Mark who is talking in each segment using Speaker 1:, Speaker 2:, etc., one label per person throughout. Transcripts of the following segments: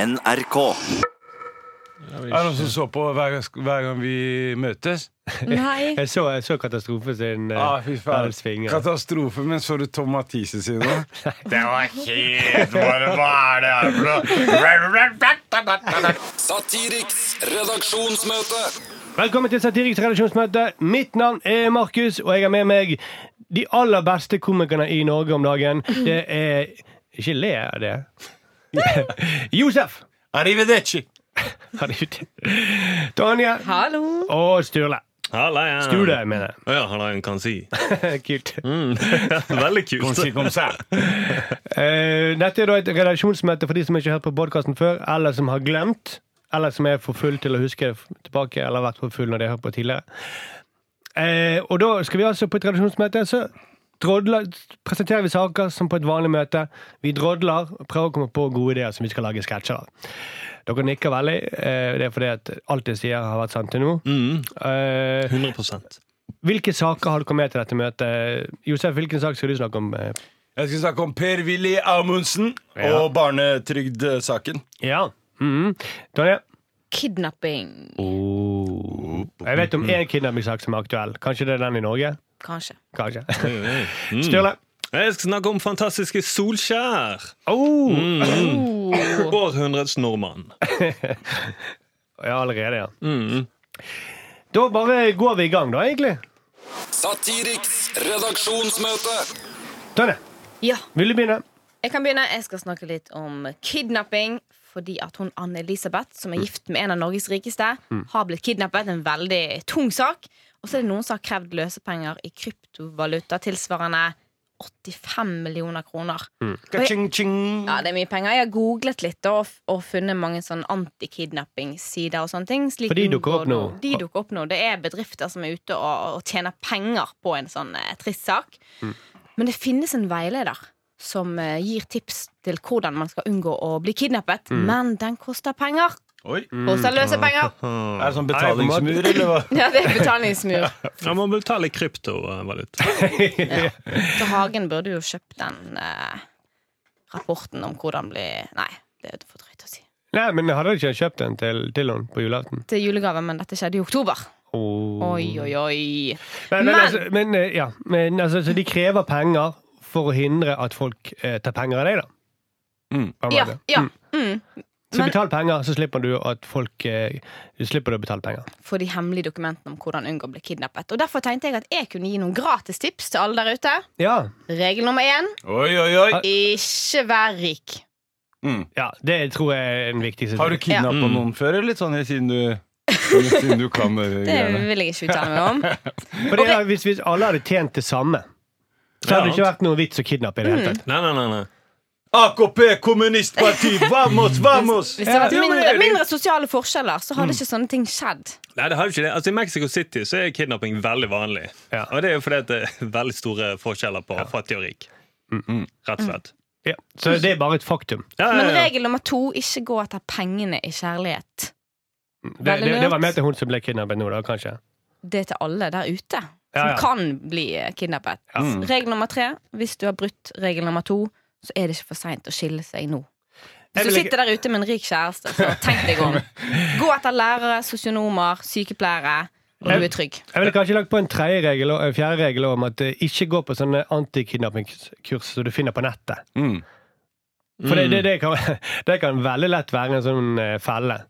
Speaker 1: NRK.
Speaker 2: Er det noen som så på hver, hver gang vi møtes?
Speaker 3: Nei.
Speaker 4: Jeg så, jeg så Katastrofe sin eh,
Speaker 2: Ah, fy faen.
Speaker 4: Berlens finger.
Speaker 2: Katastrofe, men så du Tom Mathisen sine?
Speaker 5: Det var helt bare Hva er det her for noe?
Speaker 6: Satiriks redaksjonsmøte.
Speaker 4: Velkommen til Satiriks redaksjonsmøte. Mitt navn er Markus, og jeg har med meg de aller beste komikerne i Norge om dagen. Det er Ikke le av det. Josef.
Speaker 2: Arrivederci!
Speaker 4: Har du det? Tonje.
Speaker 3: Hallo.
Speaker 4: Og Sturle.
Speaker 7: Halla, ja.
Speaker 4: Sturle, mener
Speaker 7: Å Ja, halla, en kan si.
Speaker 4: jeg. Kult.
Speaker 7: Veldig kult.
Speaker 4: Eh, dette er da et redaksjonsmøte for de som ikke har hørt på podkasten før, eller som har glemt, eller som er for full til å huske det f- tilbake, eller har vært for full når de har hørt på tidligere. Eh, og da skal vi altså på et redaksjonsmøte, så drodler, presenterer vi saker som på et vanlig møte. Vi drodler og prøver å komme på gode ideer som vi skal lage sketsjer av. Dere nikker veldig. Eh, det er fordi at alt jeg sier, har vært sant til nå.
Speaker 7: Mm,
Speaker 4: Eh,
Speaker 7: 100
Speaker 4: hvilke saker har dere med til dette møtet? Josef, hvilken sak skal du snakke om? eh?
Speaker 2: Jeg skal snakke om Per-Willy Amundsen og barnetrygdsaken.
Speaker 4: Ja. Mhm. Tonje?
Speaker 3: Kidnapping,
Speaker 4: Jeg vet om én kidnappingssak som er aktuell. Kanskje det er den i Norge?
Speaker 3: kanskje.
Speaker 4: Kanskje. Sturle.
Speaker 7: Jeg skal snakke om fantastiske Solskjær.
Speaker 4: Oh!
Speaker 7: Århundrets nordmann.
Speaker 4: Ja, allerede, ja.
Speaker 7: Mm.
Speaker 4: Da bare går vi i gang, da, egentlig.
Speaker 6: Satiriks redaksjonsmøte.
Speaker 4: Tonje,
Speaker 3: Ja,
Speaker 4: vil du begynne?
Speaker 3: jeg kan begynne. Jeg skal snakke litt om kidnapping. Fordi at hun Anne-Elisabeth, som er gift med en av Norges rikeste, har blitt kidnappet. En veldig tung sak. Og så er det noen som har krevd løsepenger i kryptovaluta tilsvarende 85 millioner kroner. Ja, det er mye penger. Jeg har googlet litt da, og, og funnet mange sånn anti-kidnapping-sider og sånne ting. slik
Speaker 4: For de
Speaker 3: unngår
Speaker 4: dukker opp nå.
Speaker 3: du- De dukker opp nå. Det er bedrifter som er ute og, og tjener penger på en sånn eh, trist sak.
Speaker 4: Mm.
Speaker 3: Men det finnes en veileder som eh, gir tips til hvordan man skal unngå å bli kidnappet.
Speaker 4: Mm.
Speaker 3: Men den koster penger.
Speaker 2: Oi.
Speaker 3: Koster løse penger.
Speaker 2: Er det sånn
Speaker 4: betalingsmur,
Speaker 2: betalingsmur, eller hva?
Speaker 3: Ja, det er betalingsmur.
Speaker 7: Jeg må betale i eh, kryptovaluta.
Speaker 3: Så Hagen burde jo kjøpt den eh, rapporten om hvordan bli Nei, det er for drøyt å si.
Speaker 4: Nei, men hadde du ikke kjøpt den til, til henne på julaften?
Speaker 3: Til julegave, men dette skjedde i oktober.
Speaker 4: Oh.
Speaker 3: Oi, oi, oi.
Speaker 4: Men, men,
Speaker 3: Men-
Speaker 4: altså, men, eh, ja. men altså, så de krever penger for å hindre at folk eh, tar penger av deg, da.
Speaker 2: Mm.
Speaker 4: På en
Speaker 3: Ja,
Speaker 4: måte.
Speaker 3: ja.
Speaker 4: Mm.
Speaker 3: Mm.
Speaker 4: Så
Speaker 3: Men-
Speaker 4: betal penger, så slipper du at folk eh, du slipper du å betale penger.
Speaker 3: For de hemmelige dokumentene om hvordan unngå å bli kidnappet. Og Derfor tenkte jeg at jeg kunne gi noen gratis tips til alle der ute.
Speaker 4: Ja,
Speaker 3: Regel nummer én
Speaker 2: Oi, oi, oi. Mm.
Speaker 3: ikke vær rik.
Speaker 4: ja det tror jeg er den viktigste.
Speaker 2: Har du kidnappa
Speaker 7: Ja.
Speaker 2: noen før, eller litt sånn siden du, siden du kan det
Speaker 3: Det
Speaker 2: greiene?
Speaker 3: vil jeg ikke uttale meg om.
Speaker 4: For det er, hvis, hvis alle hadde tjent det samme, så hadde det ikke vært noe vits å kidnappe i det
Speaker 2: Mm.
Speaker 4: hele tatt.
Speaker 7: Nei, nei, nei. nei.
Speaker 2: AKP, kommunistparti, vamos, vamos!
Speaker 3: Hvis det hadde vært
Speaker 2: Ja, men
Speaker 3: mindre,
Speaker 2: det er
Speaker 3: mindre sosiale forskjeller, så hadde ikke sånne ting skjedd.
Speaker 7: Nei, det har jo ikke det. Altså, I Mexico City så er kidnapping veldig vanlig.
Speaker 4: Ja.
Speaker 7: Og det er jo fordi at det er veldig store forskjeller på fattig og rik. Rett og slett.
Speaker 4: Ja. Så det er bare et faktum.
Speaker 7: Mm. Ja,
Speaker 3: Men
Speaker 7: ja, ja.
Speaker 3: regel nummer to ikke gå etter pengene i kjærlighet.
Speaker 4: Det,
Speaker 3: Veldig
Speaker 4: det, det
Speaker 3: lurt.
Speaker 4: var mer til hun som ble kidnappet nå, da, kanskje.
Speaker 3: Det er til alle der ute som
Speaker 4: Ja, ja.
Speaker 3: kan bli eh, kidnappet. Regel nummer tre hvis du har brutt regel nummer to, så er det ikke for seint å skille seg nå. Hvis
Speaker 4: Jeg
Speaker 3: du
Speaker 4: vil ikke-
Speaker 3: sitter der ute med en rik kjæreste, så tenk deg om. Gå etter lærere, sosionomer, sykepleiere, og du er trygg.
Speaker 4: Jeg ville kanskje lagt på en tredje regel og en fjerde regel om at eh, ikke gå på sånne antikidnappingskurs som du finner på nettet.
Speaker 2: Mm.
Speaker 4: For det, det, det, kan, det kan veldig lett være en sånn eh, felle.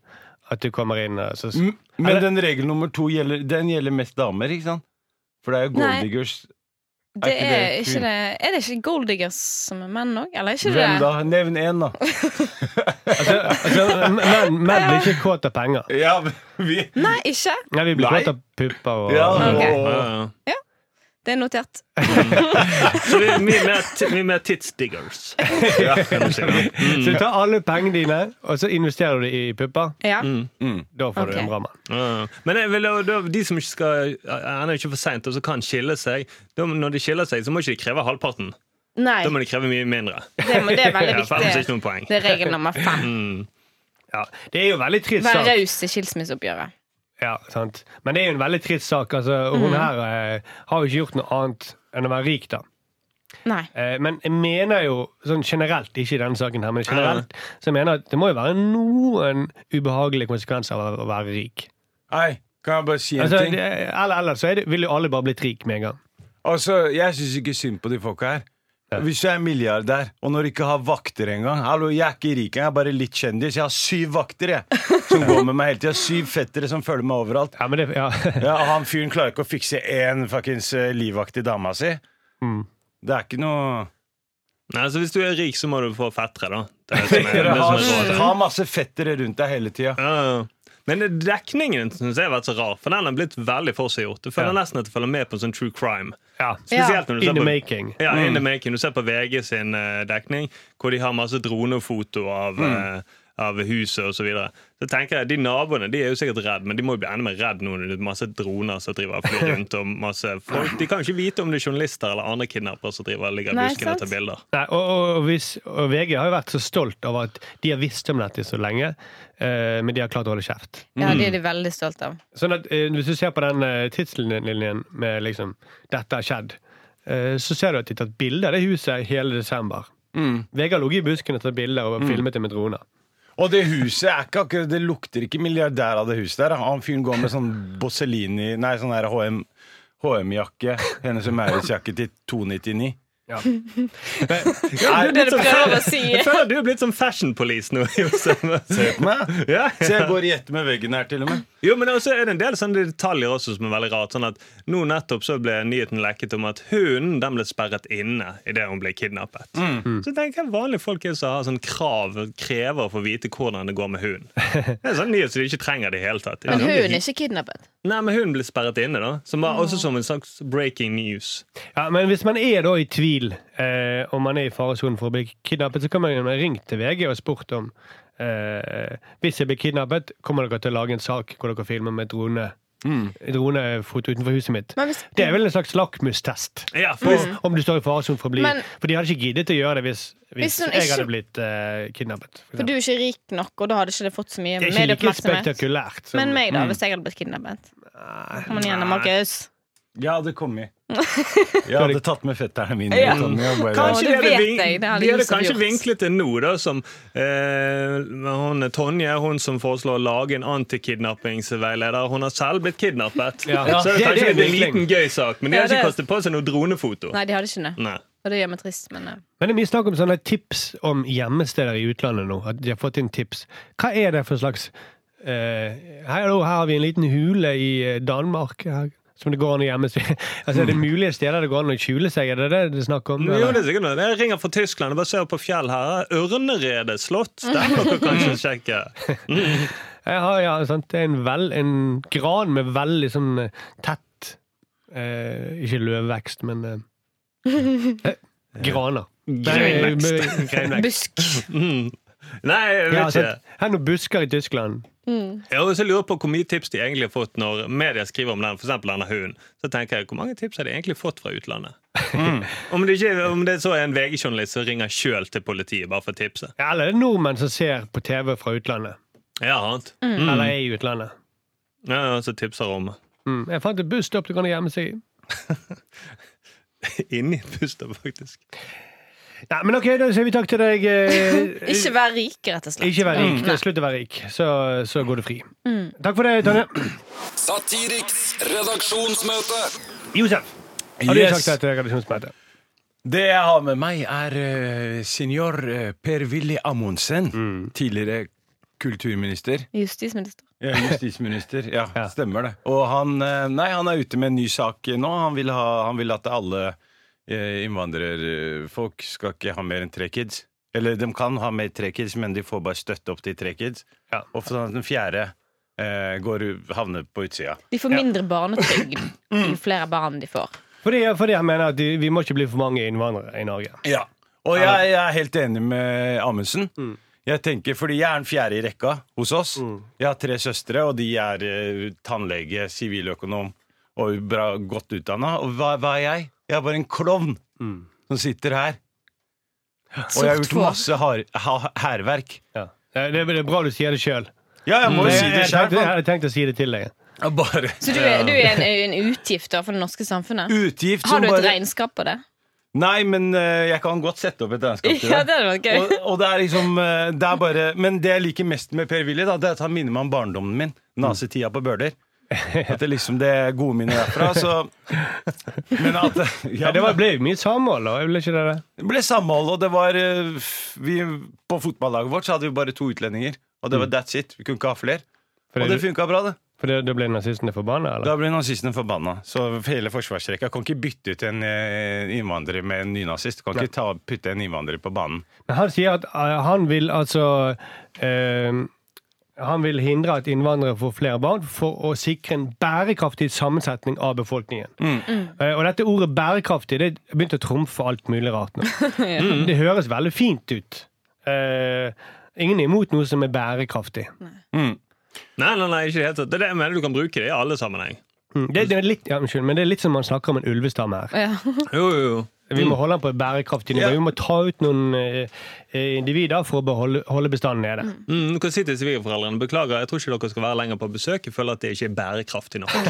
Speaker 4: At du kommer inn og så
Speaker 2: M- Men den regel nummer to gjelder, den gjelder mest damer, ikke sant? For det er jo
Speaker 3: Nei.
Speaker 2: golddiggers.
Speaker 3: Det
Speaker 2: ikke
Speaker 3: er,
Speaker 2: det
Speaker 3: ikke
Speaker 2: kvinne-
Speaker 3: det, er det ikke golddiggers som er menn òg? Eller er ikke
Speaker 2: Hvem
Speaker 3: det
Speaker 2: da? Nevn én, da.
Speaker 4: altså, altså, menn, menn blir ikke kåt av penger.
Speaker 2: Ja, vi
Speaker 3: Nei, ikke.
Speaker 4: Nei, vi blir
Speaker 2: Nei.
Speaker 4: kåt av pupper og
Speaker 2: ja,
Speaker 3: Ok.
Speaker 2: og-
Speaker 7: Ja, ja, ja.
Speaker 3: Det er notert.
Speaker 7: Så vi er mye mer, ti- mye mer tidsdiggers. kan du si, ja.
Speaker 4: Så du tar alle pengene dine, og så investerer du det i pupper.
Speaker 3: Ja.
Speaker 4: Da får du
Speaker 3: Ok.
Speaker 4: en bra mann.
Speaker 7: Ja. Men jeg vil, jo- da, de som ikke skal ennå ikke for seint, og som kan skille seg da, Når de skiller seg, så må ikke de kreve halvparten.
Speaker 3: Nei,
Speaker 7: Da må de kreve mye mindre.
Speaker 3: det, må, det er veldig
Speaker 7: Ja, for ellers er det ikke
Speaker 3: viktig.
Speaker 7: noen poeng.
Speaker 3: Det er regel nummer fem.
Speaker 4: Ja, det er jo veldig trist
Speaker 3: Vær
Speaker 4: sak.
Speaker 3: raus i skilsmisseoppgjøret.
Speaker 4: Ja, sant. Men Mm. det er jo en veldig trist sak. Altså, og hun her eh, har jo ikke gjort noe annet enn å være rik, da.
Speaker 3: Nei.
Speaker 4: Eh, Men jeg mener jo sånn generelt, ikke i denne saken her, men generelt, så jeg mener at det må jo være noen ubehagelige konsekvenser av å være rik.
Speaker 2: Nei, kan jeg bare si en
Speaker 4: Altså,
Speaker 2: ting?
Speaker 4: det- eller ellers så er det, vil jo alle bare blitt rik med en gang.
Speaker 2: Altså, Jeg syns ikke synd på de folka her. Hvis du er milliardær, og når du ikke har vakter engang Hallo, jeg er ikke rik, jeg er bare litt kjendis. Jeg har syv vakter, jeg, som går med meg hele tida. Syv fettere som følger meg overalt.
Speaker 4: Ja, men det, ja.
Speaker 2: Ja, og han fyren klarer ikke å fikse én fuckings eh, livvakt i dama si. Det er ikke noe
Speaker 7: Nei, altså Hvis du er rik, så må du få fettere, da. Det er det som er,
Speaker 2: Ha
Speaker 7: det som er rådet.
Speaker 2: sånn- ha masse fettere rundt deg hele tida.
Speaker 7: Ja, ja. Men det- dekningen synes jeg har vært så rar, for den har blitt veldig forseggjort. Du føler nesten at du følger med på en sånn true crime.
Speaker 4: ja.
Speaker 7: Spesielt når du
Speaker 4: In the
Speaker 7: ser på
Speaker 4: making.
Speaker 7: Ja, in the making. Du ser på VG sin eh, dekning, hvor de har masse dronefoto av, eh, av huset osv. Så, videre. så tenker jeg, De naboene de er jo sikkert redd, men de må jo bli enda mer redd nå når det er masse droner som driver og flyr rundt. og masse folk. De kan jo ikke vite om det er journalister eller andre kidnappere som driver og ligger i
Speaker 3: Nei,
Speaker 7: busken og
Speaker 3: sant?
Speaker 7: tar bilder.
Speaker 4: Nei, og, og, og, hvis, og VG har jo vært så stolt over at de har visst om dette så lenge, eh, men de har klart å holde kjeft.
Speaker 3: Ja, det er de veldig stolt av.
Speaker 4: Sånn at eh, Hvis du ser på den eh, tidslinjen med liksom 'dette har skjedd', eh, så ser du at de har tatt bilde av det huset hele desember. VG har ligget i busken og tatt bilder og filmet det med droner.
Speaker 2: Og det huset er ikke akkurat Det lukter ikke milliardær av det huset der. da. Han fyren går med sånn Bossellini Nei, sånn der HM HM-jakke. Hennes og Maurits-jakke til 299.
Speaker 3: Det er det du prøver å si.
Speaker 7: Jeg føler at du er blitt sånn fashion police nå. Josef.
Speaker 2: Se på meg!
Speaker 7: Ja.
Speaker 2: Se, jeg går i ett med veggen her, til og med.
Speaker 7: Jo, men også er det en del sånne detaljer også som er veldig rart. Sånn at Nå nettopp så ble nyheten lekket om at hunden den ble sperret inne idet hun ble kidnappet. Så tenker jeg vanlige folk er som har sånn krav krever å få vite hvordan det går med hunden. Det er en sånn nyhet som de ikke trenger det i det hele tatt.
Speaker 3: Men hun er ikke kidnappet.
Speaker 7: Nei, men hunden ble sperret inne, da. Som var også som en slags breaking news.
Speaker 4: Ja, Men hvis man er da i tvil eh, om man er i faresonen for å bli kidnappet, så kan man jo ringe til VG og spurt om eh, Hvis jeg blir kidnappet, kommer dere til å lage en sak hvor dere filmer med drone? dronefoto utenfor huset mitt?
Speaker 3: Men hvis-
Speaker 4: Det er vel en slags lakmustest.
Speaker 7: Ja,
Speaker 3: Mm.
Speaker 7: for
Speaker 4: Hvis, om du står i faresonen for å bli
Speaker 3: Men-
Speaker 4: For de hadde ikke giddet å gjøre det hvis, hvis,
Speaker 3: Hvis hun
Speaker 4: jeg
Speaker 3: ikke-
Speaker 4: hadde blitt eh, kidnappet. for
Speaker 3: For du er ikke rik nok, og da hadde ikke det fått så mye
Speaker 4: eksempel. det er ikke like
Speaker 3: medieoppmerksomhet.
Speaker 4: spektakulært. sånn. som-
Speaker 3: Men meg, da, hvis jeg hadde blitt kidnappet. Kom igjen, da, Markus.
Speaker 2: Jeg hadde kommet. Jeg hadde tatt med fetterne mine.
Speaker 3: Ja.
Speaker 2: Tommy, og bare-
Speaker 3: Kanskje-
Speaker 7: de
Speaker 3: det
Speaker 7: hadde
Speaker 3: vet
Speaker 7: vink-
Speaker 3: jeg, det hadde
Speaker 7: de hadde
Speaker 3: Josef
Speaker 7: kanskje
Speaker 3: gjort.
Speaker 7: vinklet det nå, da, som eh, hun, Tonje, hun som foreslår å lage en antikidnappingsveileder. Hun har selv blitt kidnappet.
Speaker 4: Ja.
Speaker 7: Så det
Speaker 4: Ja,
Speaker 7: er
Speaker 4: det-
Speaker 7: kanskje
Speaker 4: det er
Speaker 7: en
Speaker 4: vinkling.
Speaker 7: liten gøy sak, men de har
Speaker 3: Ja, det-
Speaker 7: ikke kastet på seg noe dronefoto.
Speaker 3: Nei, de hadde ikke det.
Speaker 7: Nei.
Speaker 3: Og det gjør meg trist, men eh,
Speaker 4: Men det er mye snakk om sånne tips om gjemmesteder i utlandet nå. At de har fått inn tips. Hva er det for slags eh, Hallo, her har vi en liten hule i eh, Danmark. Her. Som det går an å gjemme seg Altså, Er det
Speaker 3: Mm.
Speaker 4: mulige steder det går an å skjule seg? Er det det det er snakk om?
Speaker 7: Jo, det
Speaker 4: eller?
Speaker 7: er sikkert noe. Jeg ringer fra Tyskland og bare ser på fjell her. Ørneredet slott. Der kan dere kanskje sjekke.
Speaker 4: Jeg har, ja, sant? Det er en, vel, en gran med veldig sånn eh, tett eh, Ikke løvvekst, men eh, eh, Graner.
Speaker 7: Greinvekst.
Speaker 4: Nei, eh, greinvekst.
Speaker 3: busk.
Speaker 7: Mm. Nei, jeg
Speaker 4: Ja,
Speaker 7: vet ikke.
Speaker 4: sant? Her er noen busker i Tyskland.
Speaker 7: Jeg har også lurer på hvor mye tips de egentlig har fått når media skriver om den, for eksempel denne hunden. Så tenker jeg, hvor mange tips har de egentlig fått fra utlandet? om, det ikke, om det så er en VG-journalist som ringer sjøl til politiet bare for tipset.
Speaker 4: Ja, Eller er det nordmenn som ser på TV fra utlandet.
Speaker 7: Ja, annet.
Speaker 4: Eller er i utlandet.
Speaker 7: Ja, ja, så tipser om
Speaker 4: Mm. Jeg fant et busstopp du kan gjemme seg i.
Speaker 7: Inni pusta, faktisk.
Speaker 4: Nei, men ok, Da sier vi takk til deg. eh,
Speaker 3: Ikke vær rik, rett og slett.
Speaker 4: Ikke vær rik. Slutt å være rik, så, så går du fri. Takk for det, Tonje.
Speaker 6: Satiriks redaksjonsmøte.
Speaker 4: Josef, har du
Speaker 2: Yes.
Speaker 4: sagt dette redaksjonsmøtet?
Speaker 2: Det jeg har med meg, er uh, senior eh, Per-Willy Amundsen. Tidligere kulturminister.
Speaker 3: Justisminister.
Speaker 2: Ja, Justisminister, ja,
Speaker 4: Ja.
Speaker 2: stemmer det. Og han, eh, nei, han er ute med en ny sak nå. Han vil, ha, han vil at alle eh, innvandrerfolk skal ikke ha mer enn tre kids. Eller de kan ha mer tre kids, men de får bare støtte opp til tre kids.
Speaker 4: Ja.
Speaker 2: Og sånn at den fjerde eh, går, havner på utsida.
Speaker 3: De får mindre barnetrygd jo
Speaker 4: Mm.
Speaker 3: flere barn de får.
Speaker 4: Fordi, fordi jeg mener at de, vi må ikke bli for mange innvandrere i Norge.
Speaker 2: Ja. Og jeg, jeg er Mm. helt enig med Amundsen. Jeg tenker, fordi jeg er den fjerde i rekka hos oss. Jeg har tre søstre, og de er eh, tannlege, siviløkonom og bra, godt utdanna. Og hva, hva er jeg? Jeg er bare en klovn som sitter her. Og jeg har gjort
Speaker 3: hår.
Speaker 2: masse har- ha- hærverk. Mm.
Speaker 4: Ja. Det, det er bra du sier det sjøl.
Speaker 2: Ja, jeg må jo si det
Speaker 4: jeg,
Speaker 2: sjøl.
Speaker 4: tenkte- jeg hadde tenkt å si det til deg.
Speaker 2: Bare
Speaker 3: Så du er, du er en, en utgift da, for det norske samfunnet?
Speaker 2: utgift
Speaker 3: Har
Speaker 2: som
Speaker 3: du et
Speaker 2: bare
Speaker 3: regnskap på det?
Speaker 2: Nei, men eh, jeg kan godt sette opp et regnskap til
Speaker 3: Ja,
Speaker 2: deg.
Speaker 3: det hadde vært
Speaker 2: Og,
Speaker 3: gøy.
Speaker 2: og det er liksom eh, det er bare, Men det jeg liker mest med Per Willy, da, det er at han minner meg om barndommen min. Nazitida på Bøler. At det liksom det er gode minner derfra. Så, men at ja,
Speaker 4: Ja, det var, ble jo mye samhold, da. Ble ikke det det?
Speaker 2: Det ble samhold, og det var eh, f- vi, På fotballaget vårt så hadde vi bare to utlendinger.
Speaker 4: Mm.
Speaker 2: Og det var that's it. Vi kunne ikke ha flere.
Speaker 4: Fordi
Speaker 2: Og det
Speaker 4: du-
Speaker 2: funka bra, det.
Speaker 4: Fordi da ble nazistene forbanna, eller?
Speaker 2: Da ble nazistene forbanna. Så hele forsvarsrekka kan ikke bytte ut en eh, innvandrer med en nynazist. Kan ikke ta, putte en innvandrer på banen.
Speaker 4: Men han sier at eh, han vil altså eh, Han vil hindre at innvandrere får flere barn for å sikre en bærekraftig sammensetning av befolkningen.
Speaker 2: Mm.
Speaker 4: Eh, og dette ordet 'bærekraftig' det begynte å trumfe alt mulig rart nå.
Speaker 2: Mm.
Speaker 4: Det høres veldig fint ut. Eh, ingen er imot noe som er bærekraftig.
Speaker 7: Nei, nei, nei, ikke helt. sant. Det er det jeg mener du kan bruke det i alle sammenheng.
Speaker 4: Mm. Det, det er litt, ja, unnskyld, men det er litt som man snakker om en ulvestamme her.
Speaker 7: Jo, jo, jo.
Speaker 4: Vi må holde den på et bærekraftig nivå.
Speaker 2: Ja.
Speaker 4: Vi må ta ut noen eh, eh, individer for å beholde, holde bestanden nede.
Speaker 7: Mm, du kan si til svigerforeldrene beklager, jeg tror ikke dere skal være lenger på besøk. Jeg føler at det ikke er bærekraftig nok. Sånn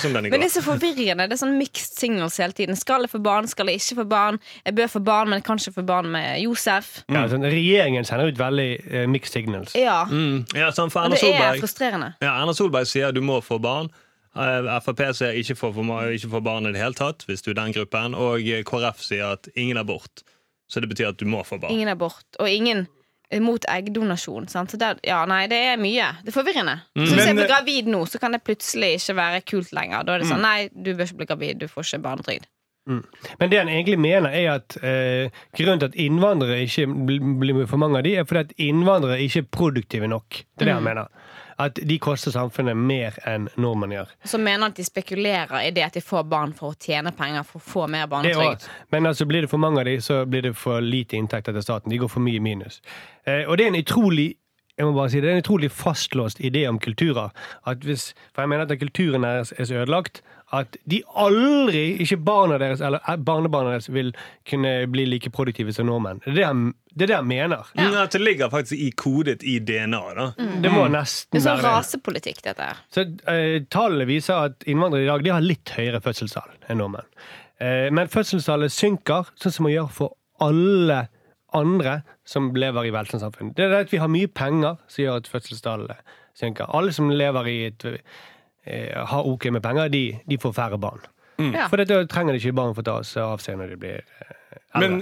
Speaker 7: som denne
Speaker 3: Men det
Speaker 7: går.
Speaker 3: er så forvirrende. Det er sånn mixed signals hele tiden. Skal jeg få barn, skal jeg ikke få barn? Jeg bør få barn, men kanskje få barn med Josef.
Speaker 4: Ja, sånn, regjeringen sender ut veldig eh, mixed signals.
Speaker 3: Ja.
Speaker 7: Mm, ja, sant, for
Speaker 3: Og det
Speaker 7: Erna
Speaker 3: er
Speaker 7: Solberg,
Speaker 3: frustrerende.
Speaker 7: ja, Erna Solberg sier du må få barn. Eh, Frp sier ikke få, for ma- ikke få barn i det hele tatt, hvis du er den gruppen. Og eh, KrF sier at ingen abort. Så det betyr at du må få barn.
Speaker 3: Ingen abort. Og ingen mot eggdonasjon. Sant? Så der, ja, nei, det er mye. Det er forvirrende.
Speaker 4: Mm,
Speaker 3: Så hvis jeg
Speaker 2: Men,
Speaker 3: blir
Speaker 4: eh,
Speaker 3: gravid nå, så kan det plutselig ikke være kult lenger. Da er det
Speaker 4: Mm.
Speaker 3: sånn, nei, du bør ikke bli gravid, du får ikke barnetrygd.
Speaker 4: Men det han egentlig mener, er at eh, grunnen til at innvandrere ikke bl- blir for mange av de, er fordi at innvandrere ikke er produktive nok. Det er det han mener. At de koster samfunnet mer enn nordmenn gjør.
Speaker 3: Så mener han at de spekulerer i det at de får barn for å tjene penger for å få mer
Speaker 4: Det
Speaker 3: barnetrygd.
Speaker 4: også. Men altså, blir det for mange av de, så blir det for lite inntekter til staten. De går for mye i minus. Eh, og det er en utrolig jeg må bare si det, det er en utrolig fastlåst idé om kulturer. At hvis, for jeg mener at kulturen deres er så ødelagt at de aldri, ikke barna deres eller eh, barnebarna deres, vil kunne bli like produktive som nordmenn. Det er det han, det er det han mener.
Speaker 7: Mm, at det ligger faktisk i kodet i DNA. da.
Speaker 4: Det må
Speaker 3: Mm. Det
Speaker 4: nesten
Speaker 3: er
Speaker 4: være
Speaker 3: sånn
Speaker 4: det.
Speaker 3: rasepolitikk, dette her.
Speaker 4: Så eh, Tallene viser at innvandrere i dag de har litt høyere fødselstall enn nordmenn. Eh, men fødselstallet synker, sånn som man gjør for alle andre som lever i velstandssamfunn. Det er det at vi har mye penger som gjør at fødselstallet synker. Alle som lever i et eh, har ok med penger, de, de får færre barn.
Speaker 3: Ja.
Speaker 4: Mm. For da trenger de ikke barn for å ta seg av seg når de blir eh, eldre.
Speaker 2: Men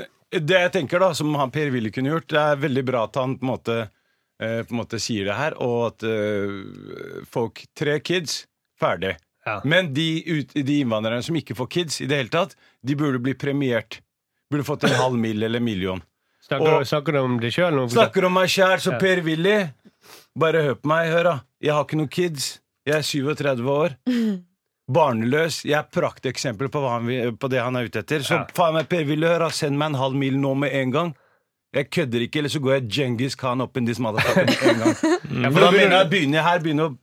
Speaker 2: det jeg tenker da, som han Per Willy kunne gjort, det er veldig bra at han på en måte, eh, på en måte sier det her, og at eh, folk Tre kids, ferdig.
Speaker 4: Ja.
Speaker 2: Men de, ut, de innvandrerne som ikke får kids i det hele tatt, de burde bli premiert. Burde fått en halv mil eller million.
Speaker 4: snakker,
Speaker 2: og-
Speaker 4: du, snakker du om det sjøl nå?
Speaker 2: Snakker om meg sjæl, så Per Willy, bare hør på meg, hør da. Jeg har ikke noen kids. Jeg er 37 år. Barnløs. Jeg er prakteksempel på, hva han, vil- på det han er ute etter. Så
Speaker 4: Ja.
Speaker 2: faen meg, Per Willy, hør da. Send meg en halv mil nå med en gang. Jeg kødder ikke, eller så går jeg Djengis Khan opp in this motherfucker med en gang. For da begynner jeg begynner jeg her, begynner å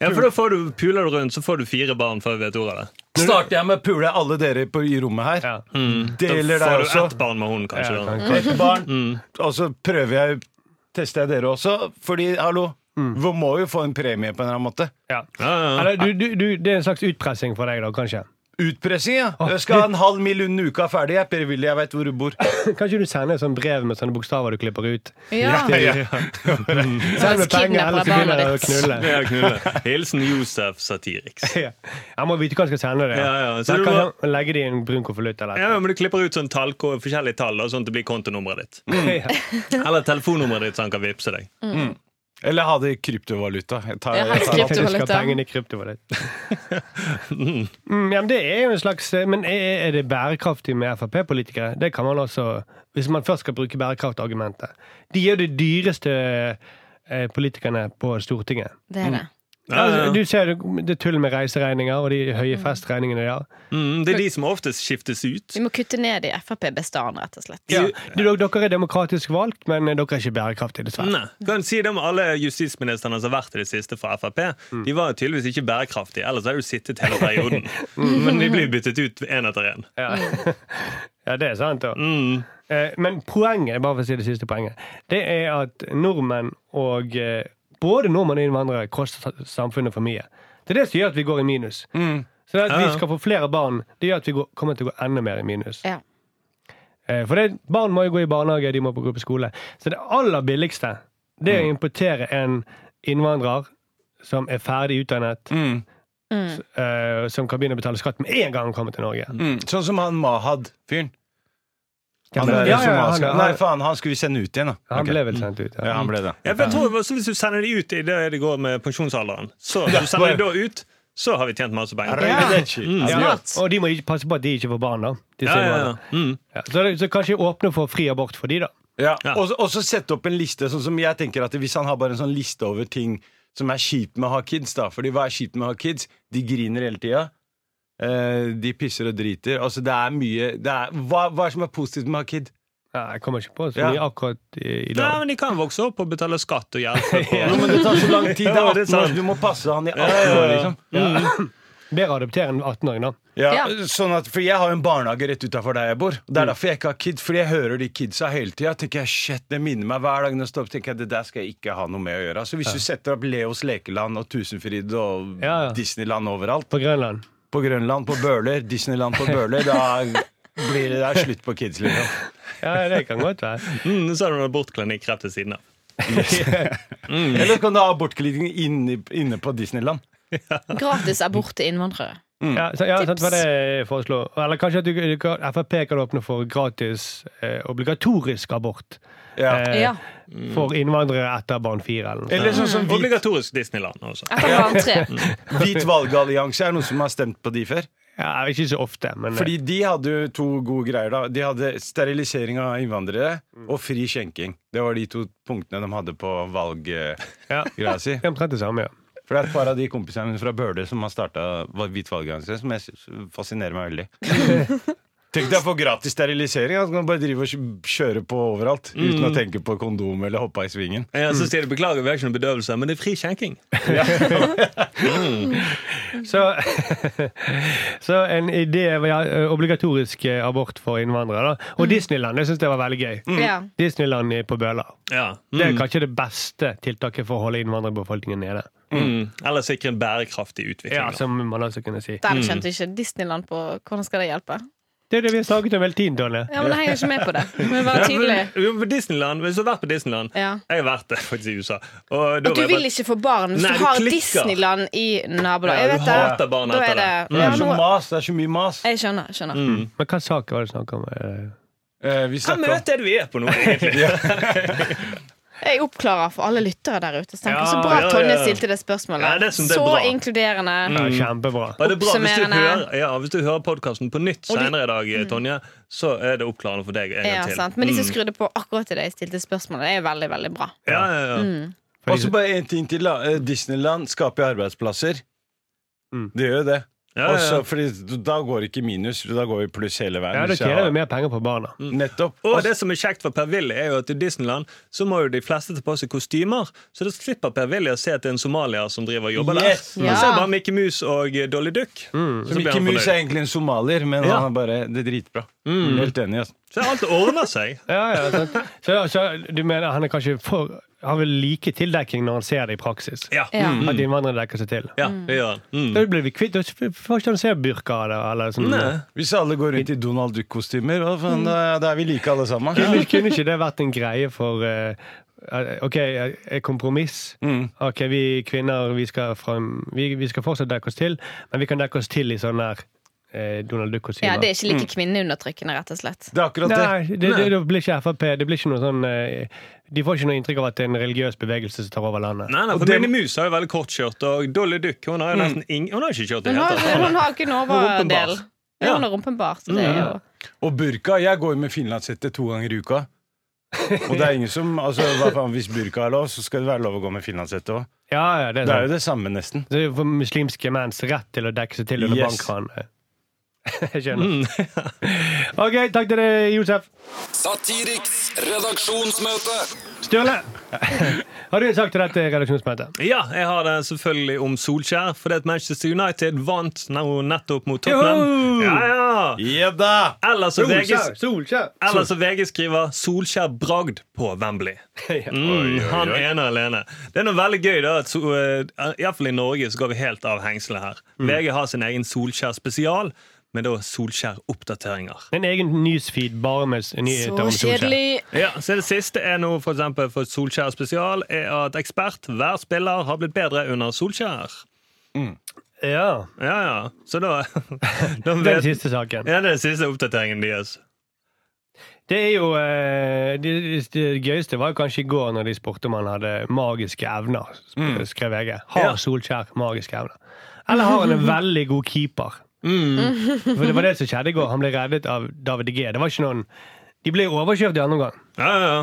Speaker 7: Ja, for da får du, Puler du rundt, så får du fire barn før vi vet ordet av det.
Speaker 2: Starter jeg med å pule alle dere på, i rommet her.
Speaker 4: Ja.
Speaker 2: Deler deg
Speaker 7: Da får du
Speaker 2: også.
Speaker 7: ett barn med hun, kanskje.
Speaker 4: Ja,
Speaker 7: da.
Speaker 4: kan-
Speaker 2: Et barn. Mm. Og så prøver jeg Tester jeg dere også. Fordi, hallo, vi må jo få en premie på en eller annen måte.
Speaker 4: Ja.
Speaker 7: Ja, ja, ja.
Speaker 4: Eller, du, du, du, det er en slags utpressing for deg, da, kanskje?
Speaker 2: Utpressing, ja.
Speaker 4: Å,
Speaker 2: Jeg skal ha en halv mil under uka ferdig. Jeg, per Willy, jeg veit hvor du bor.
Speaker 4: Kan ikke du sende et sånt brev med sånne bokstaver du klipper ut?
Speaker 3: Ja.
Speaker 4: Send meg penger, ellers så
Speaker 3: kidnapper
Speaker 4: begynner jeg å
Speaker 7: Det
Speaker 4: knulle.
Speaker 7: er knulle. Hilsen Josef Satiriks.
Speaker 4: Ja. Jeg må vite hva jeg skal sende det.
Speaker 7: Ja, ja, så
Speaker 4: Så jeg
Speaker 7: du
Speaker 4: kan
Speaker 7: må-
Speaker 4: sånn legge det i en brun konvolutt eller
Speaker 7: Ja,
Speaker 4: et
Speaker 7: men Du klipper ut sånn tall, forskjellige tall, da, sånn at det blir kontonummeret ditt.
Speaker 4: eller annet.
Speaker 7: Eller telefonnummeret ditt, så han kan vippse deg.
Speaker 2: Eller ha det i kryptovaluta. Jeg tar,
Speaker 3: Ja,
Speaker 2: jeg tar
Speaker 4: Ja.
Speaker 2: alt.
Speaker 4: Du skal ha
Speaker 3: Kryptovaluta.
Speaker 4: pengene i kryptovaluta. Mm, ja, men det er jo en slags eh, Men er er det bærekraftig med Frp-politikere? Det kan man også Hvis man først skal bruke bærekraftargumentet. De er jo de dyreste eh, politikerne på Stortinget.
Speaker 3: Det er det.
Speaker 7: Ja, ja, ja.
Speaker 4: Altså, du ser det- det tullet med reiseregninger og de høye festregningene de har.
Speaker 7: Mm, det er de som oftest skiftes ut.
Speaker 3: Vi må kutte ned i Frp-bestanden, rett og slett.
Speaker 4: Ja. Du, dere- dere er demokratisk valgt, men dere er ikke bærekraftige, dessverre.
Speaker 7: Nei. Kan si det om alle justisministrene som har vært i det siste fra Frp. De var jo tydeligvis ikke bærekraftige, ellers har de jo sittet hele perioden. Mm. Men de blir byttet ut én etter én.
Speaker 4: Ja. ja, det er sant. da. Eh, Men poenget bare for å si det siste poenget, det er at nordmenn og eh, både nordmenn og innvandrere koster sa- samfunnet for mye. Det er det som gjør at vi går i minus. Så det at
Speaker 7: Ja,
Speaker 4: vi
Speaker 7: ja.
Speaker 4: skal få flere barn, det gjør at vi går, kommer til å gå enda mer i minus.
Speaker 3: Ja.
Speaker 4: Eh, For det, barn må jo gå i barnehage, de må gå på skole. Så det aller billigste det
Speaker 2: Mm.
Speaker 4: er å importere en innvandrer som er ferdig utdannet,
Speaker 2: Mm.
Speaker 4: eh, som kan begynne å betale skatt med en gang han kommer til Norge.
Speaker 2: Mm. Sånn som han Mahad-fyren.
Speaker 4: Ja,
Speaker 2: Han,
Speaker 4: men-
Speaker 2: der
Speaker 4: ja,
Speaker 2: som
Speaker 4: ja,
Speaker 2: han
Speaker 4: han-
Speaker 2: skal-
Speaker 4: han-
Speaker 2: Nei, faen, han skulle vi sende ut igjen, da.
Speaker 4: Han
Speaker 2: Ok.
Speaker 4: ble vel sendt ut.
Speaker 2: Ja, han ble det.
Speaker 7: Ja, for jeg tror også Hvis du sender de ut i det det går med pensjonsalderen, så hvis du sender de da ut, så har vi tjent masse penger.
Speaker 3: Ja.
Speaker 2: Arrivederci.
Speaker 4: Ja,
Speaker 2: Adios.
Speaker 4: Og de må ikke passe på at de ikke får barn, da. De
Speaker 7: Ja,
Speaker 4: som
Speaker 7: ja,
Speaker 4: er
Speaker 7: ja.
Speaker 4: barn.
Speaker 7: Mm.
Speaker 4: Ja, så, så kanskje åpne for fri abort for de, da.
Speaker 2: Ja.
Speaker 7: Ja.
Speaker 2: Og, så- og så sette opp en liste, sånn som jeg tenker at hvis han har bare en sånn liste over ting som er kjipt med å ha kids, da. Fordi hva er kjipt med å ha kids? De griner hele tida. Eh, de pisser og driter. Altså, det er mye det er, hva, hva er det som er positivt med å ha kid?
Speaker 4: Ja, jeg kommer ikke på så
Speaker 2: Ja.
Speaker 4: mye akkurat i, i
Speaker 7: Nei,
Speaker 4: dag.
Speaker 7: men De kan vokse opp og betale skatt og hjelpe. på-
Speaker 2: Jo, men det tar så lang tid. Det er
Speaker 7: Ja, det er
Speaker 2: 18 år,
Speaker 7: sant.
Speaker 2: så du må passe han i 18 år, liksom.
Speaker 4: Bedre å adoptere en 18-åring, da.
Speaker 2: Ja,
Speaker 3: Ja.
Speaker 2: Sånn at, for jeg har jo en barnehage rett utafor der jeg bor. Og Det er derfor jeg ikke har kids, fordi jeg hører de kidsa hele tida. Tenker jeg, shit, det minner meg hver dag når jeg står opp, tenker jeg, det der skal jeg ikke ha noe med å gjøre. Så hvis du setter opp Leos lekeland og Tusenfryd og
Speaker 4: Ja, ja.
Speaker 2: Disneyland overalt,
Speaker 4: På Grønland.
Speaker 2: på Grønland, på Bøler, Disneyland på Bøler, da blir det der slutt på kids, liksom.
Speaker 4: Ja, det kan godt være.
Speaker 7: Mm, så har du en abortklinikk rett ved siden av.
Speaker 2: Eller kan du ha abortklinikken inne, inne på Disneyland.
Speaker 3: Gratis abort til innvandrere.
Speaker 4: Ja, så, ja,
Speaker 3: Tips.
Speaker 4: sant, hva det jeg foreslår. Eller kanskje at du, du, kan- Frp kan åpne for gratis eh, obligatorisk abort
Speaker 2: Ja.
Speaker 4: eh,
Speaker 3: Ja.
Speaker 4: for innvandrere etter barn fire. Eller noe. sånt.
Speaker 2: Eller sånn som
Speaker 7: Mm.
Speaker 2: hvit,
Speaker 7: Obligatorisk Disneyland også.
Speaker 3: Etter barn tre.
Speaker 2: hvit valgallianse. Er det noen som har stemt på de før?
Speaker 4: Ja, ikke så ofte, men eh,
Speaker 2: Fordi de hadde jo to gode greier da De hadde sterilisering av innvandrere Og fri skjenking Det var de to punktene de hadde på valggreia
Speaker 4: ja,
Speaker 2: si
Speaker 4: det er omtrent det samme. ja.
Speaker 2: For det er et par av de kompisene mine fra Bøle Som har startet val- hvit valggrense Som jeg synes fascinerer meg veldig Tenk deg å få gratis sterilisering da. Så kan man bare drive og kj- kjøre på overalt Uten å tenke på kondom eller hoppe i svingen
Speaker 7: Ja, så sier de beklager, vi har ikke noen bedøvelse, men det er fri skjenking.
Speaker 4: Så, så en idé var ja, eh, obligatorisk eh, abort for innvandrere. Da. Og Disneyland, det syns jeg var veldig gøy.
Speaker 7: Mm.
Speaker 3: Ja.
Speaker 4: Disneyland i- på Bøler.
Speaker 7: Ja.
Speaker 4: Det er kanskje det beste tiltaket for å holde innvandrerbefolkningen nede.
Speaker 7: Mm. Eller sikre en bærekraftig utvikling.
Speaker 4: Ja,
Speaker 7: da.
Speaker 4: som man altså kunne si.
Speaker 7: Mm.
Speaker 3: Der skjønte ikke Disneyland på hvordan skal det hjelpe.
Speaker 4: Det er det vi har snakket om hele tiden, Tonje.
Speaker 3: Ja, men Jeg henger ikke med på det. Men bare tydelig.
Speaker 7: Ja, men- jo, men Disneyland, Hvis du har vært på Disneyland
Speaker 3: Ja.
Speaker 7: Jeg har vært det faktisk i USA. Og da
Speaker 3: At du
Speaker 7: var jeg
Speaker 3: vil
Speaker 7: bare-
Speaker 3: ikke få barn hvis
Speaker 7: Nei,
Speaker 3: du
Speaker 7: du
Speaker 3: har
Speaker 7: klikker.
Speaker 3: Disneyland i nabolaget.
Speaker 7: Ja,
Speaker 3: Jeg
Speaker 7: du
Speaker 3: vet det.
Speaker 7: hater barn
Speaker 3: Da
Speaker 7: etter
Speaker 3: er det.
Speaker 7: det. Mm.
Speaker 2: Det
Speaker 3: Ja,
Speaker 2: er så
Speaker 3: nå-
Speaker 2: mas, det er så mye mas
Speaker 3: Jeg skjønner. skjønner.
Speaker 4: Men hva sak var det snakk om? eh?
Speaker 2: eh, Vi snakker
Speaker 7: Hva
Speaker 2: om
Speaker 7: møte er det vi er på nå, egentlig?
Speaker 3: Jeg oppklarer for alle lyttere der ute. Så, tenker,
Speaker 4: Ja,
Speaker 3: så bra
Speaker 7: ja, ja.
Speaker 3: Tonje stilte det spørsmålet.
Speaker 7: Ja, det er som det er
Speaker 3: så
Speaker 7: bra.
Speaker 3: inkluderende.
Speaker 4: Ja, kjempebra.
Speaker 7: Var det bra? Hvis du
Speaker 3: Oppsummerende.
Speaker 7: hører, ja, hvis du hører podkasten på nytt
Speaker 3: Og de-
Speaker 7: senere i dag, Tonje, så er det oppklarende for deg en gang
Speaker 3: Ja,
Speaker 7: til. Mm.
Speaker 3: sant. Men de som skrudde på akkurat til deg stilte spørsmålet, det er veldig veldig bra.
Speaker 7: Ja, ja, ja.
Speaker 3: Mm.
Speaker 4: For
Speaker 2: Og
Speaker 4: de-
Speaker 2: så bare en ting til da Eh, Disneyland skaper jo arbeidsplasser
Speaker 4: Mm.
Speaker 2: Det gjør jo det
Speaker 7: Ja, ja, ja.
Speaker 2: Og så- fordi da går det ikke minus, da går vi pluss hele veien.
Speaker 4: Ja, da
Speaker 2: hvis jeg
Speaker 4: tjener
Speaker 2: har-
Speaker 4: vi mer penger på barna.
Speaker 2: Nettopp.
Speaker 7: Og det som er kjekt for Per Willy, er jo at i Disneyland så må jo de fleste ta på seg kostymer. Så da slipper Per Willy å se at det er en somalier som driver og jobber
Speaker 2: Yes. Mm.
Speaker 7: der.
Speaker 3: Ja.
Speaker 7: Han ser bare Mickey Mus og eh, Dolly Duck. Så, blir
Speaker 2: Mickey
Speaker 7: han
Speaker 2: Mouse er
Speaker 7: fornøyd.
Speaker 2: egentlig en somalier, men
Speaker 7: Ja. Mm.
Speaker 2: han er bare det er dritbra. Helt enig. Altså.
Speaker 7: så alt ordner seg.
Speaker 4: Ja, ja, sant. Så, så du mener han er kanskje for Han vil like tildekking når han ser det i praksis?
Speaker 7: Ja, Mm.
Speaker 3: Ja.
Speaker 4: At innvandrere dekker seg til?
Speaker 7: ja det gjør han. Mm.
Speaker 4: Da blir vi kvitt Da får ikke han se burka av det, eller sånn.
Speaker 7: Nei.
Speaker 2: Hvis alle går rundt i Donald Duck-kostymer, hva
Speaker 7: Mm.
Speaker 2: faen, da, da er vi like alle sammen.
Speaker 4: Kunne, kunne ikke det vært en greie for eh, eh, OK, eh, et kompromiss.
Speaker 7: Mm.
Speaker 4: OK, vi kvinner vi skal, frem, vi, vi skal fortsatt dekke oss til, men vi kan dekke oss til i sånn der eh, Donald Duck-kostymer.
Speaker 3: Ja, Det er ikke
Speaker 7: Mm.
Speaker 3: like kvinneundertrykkende, rett og slett.
Speaker 2: Det er akkurat det.
Speaker 4: Nei, det, det, det blir ikke Frp. Det blir ikke noe sånn eh, De får ikke noe inntrykk av at det er en religiøs bevegelse som tar over landet.
Speaker 7: Nei, nei, for
Speaker 2: Og Mm. det-
Speaker 7: Minnie Mus har jo veldig kort skjørt, og Dolly Duck hun har jo nesten ing... Hun har ikke kjørt i det
Speaker 3: Hun har,
Speaker 7: hele tatt.
Speaker 3: hun har ikke en overdel.
Speaker 7: Rumpenbar.
Speaker 3: Ja, hun er rumpenbar. Så det
Speaker 7: Mm.
Speaker 3: er jo
Speaker 2: Og burka. Jeg går jo med finlandshette to ganger i uka. Og det er ingen som altså, hva faen, Hvis burka er lov, så skal det være lov å gå med finlandshette òg.
Speaker 4: Ja, ja, det er
Speaker 2: Det er
Speaker 4: sant.
Speaker 2: jo det samme, nesten.
Speaker 4: Så det er for muslimske menns rett til å dekke seg til under
Speaker 2: Yes. Mm.
Speaker 4: bankran. Jeg skjønner. OK, takk til deg, Josef.
Speaker 6: Satiriks redaksjonsmøte.
Speaker 4: Sturle, har du en sak til dette redaksjonsmøtet?
Speaker 7: Ja, jeg har det selvfølgelig om Solskjær, fordi at Manchester United vant nå nettopp mot Tottenham. Ja, ja.
Speaker 2: Ja da!
Speaker 7: Eller så VG
Speaker 4: Solskjær!
Speaker 7: Eller som VG skriver 'Solskjær bragd på Wembley'. Mm, han ene alene. Det er noe veldig gøy, da. at so-
Speaker 2: Mm.
Speaker 7: eh, Iallfall i Norge så går vi helt av hengselet her. VG har sin egen Solskjær-spesial. med da Solskjær-oppdateringer.
Speaker 4: En egen newsfeed bare med s- nyheter
Speaker 3: Så
Speaker 4: om Solskjær.
Speaker 3: kjedelig.
Speaker 7: Ja, så Det siste er nå for, eksempel for Solskjær spesial er at ekspert hver spiller har blitt bedre under Solskjær.
Speaker 4: Ja,
Speaker 7: Ja, ja. Så da, da
Speaker 4: Det er den siste saken.
Speaker 7: Ja, det er den siste oppdateringen deres.
Speaker 4: Det er jo eh, det, det- det gøyeste var jo kanskje i går når de spurte om han hadde magiske evner, sp- skrev VG.
Speaker 7: Ja.
Speaker 4: Har Solskjær magiske evner? Eller har han en veldig god keeper? For det var det som skjedde i går. Han ble reddet av David De G. Det var ikke noen De ble overkjørt i andre omgang.
Speaker 7: Ja, ja, ja.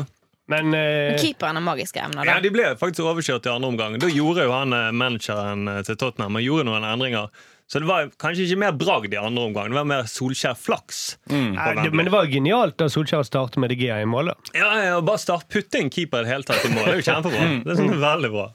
Speaker 4: Men eh,
Speaker 3: Keeperen har magiske emner.
Speaker 7: Ja,
Speaker 3: Da.
Speaker 7: De ble faktisk overkjørt i andre omgang. Da gjorde jo han eh, manageren eh, til Tottenham han gjorde noen endringer. Så det var kanskje ikke mer bragd i andre omgang. Det var mer Solskjær-flaks.
Speaker 4: eh, det- men det var jo genialt da Solskjær startet med De Gea i mål. da.
Speaker 7: Ja, ja, Bare start, putte en keeper i det hele tatt i mål. Det er jo kjempebra.
Speaker 4: Mm.
Speaker 7: Det er sånn veldig bra.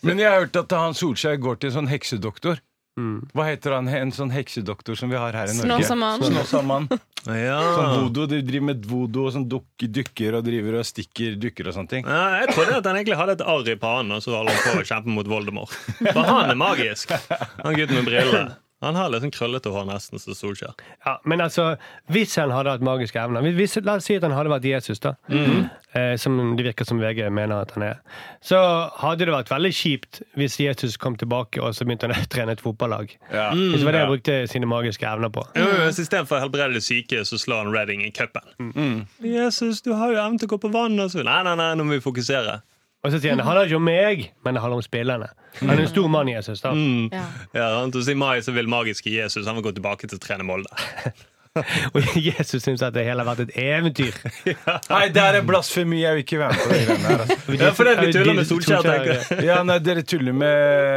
Speaker 2: Men jeg har hørt at han Solskjær går til en sånn heksedoktor.
Speaker 7: Mm.
Speaker 2: Hva heter han? En sånn heksedoktor som vi har her i Norge?
Speaker 3: Snåsamann.
Speaker 2: Snåsamann.
Speaker 4: Mm.
Speaker 7: Ja.
Speaker 2: Sånn voodoo, de driver med voodoo og sånn duk, dukker og driver og stikker dukker og sånne ting.
Speaker 7: Ja, jeg trodde at han egentlig hadde et arr i pannen og så holdt han på å kjempe mot Voldemort. For han er magisk. Han gutten med briller. Han har litt sånn krøllete hår, nesten som Solskjær.
Speaker 4: Ja, men altså, hvis han hadde hatt magiske evner hvis- hvis, La oss si at han hadde vært Jesus, da.
Speaker 7: Mhm.
Speaker 4: eh, som det virker som VG mener at han er. Så hadde det vært veldig kjipt hvis Jesus kom tilbake og så begynte han å trene et fotballag.
Speaker 2: Ja.
Speaker 4: Hvis det
Speaker 7: Mm.
Speaker 4: var det han brukte sine magiske evner på.
Speaker 7: Jo, jo, så Istedenfor å helbrede de syke, så slår han Redding i cupen. Jesus, du har jo evnen til å gå på vann. Og så. Nei, nei, nei, nå må vi fokusere.
Speaker 4: Og så sier han det handler ikke om meg, men det handler om spillerne.
Speaker 7: Mm.
Speaker 4: Han er en stor mann, Jesus. da
Speaker 3: Ja.
Speaker 7: Ja, sant? Og så I mai så vil magiske Jesus han vil gå tilbake til å trene Molde.
Speaker 4: Og Jesus syns at det hele har vært et eventyr.
Speaker 2: Nei, det er blasfemi! Jeg vil ikke være med på det greiene her. altså.
Speaker 7: Ja, for det er vi tuller med Solskjær, tenker jeg.
Speaker 2: Ja, nei, Dere tuller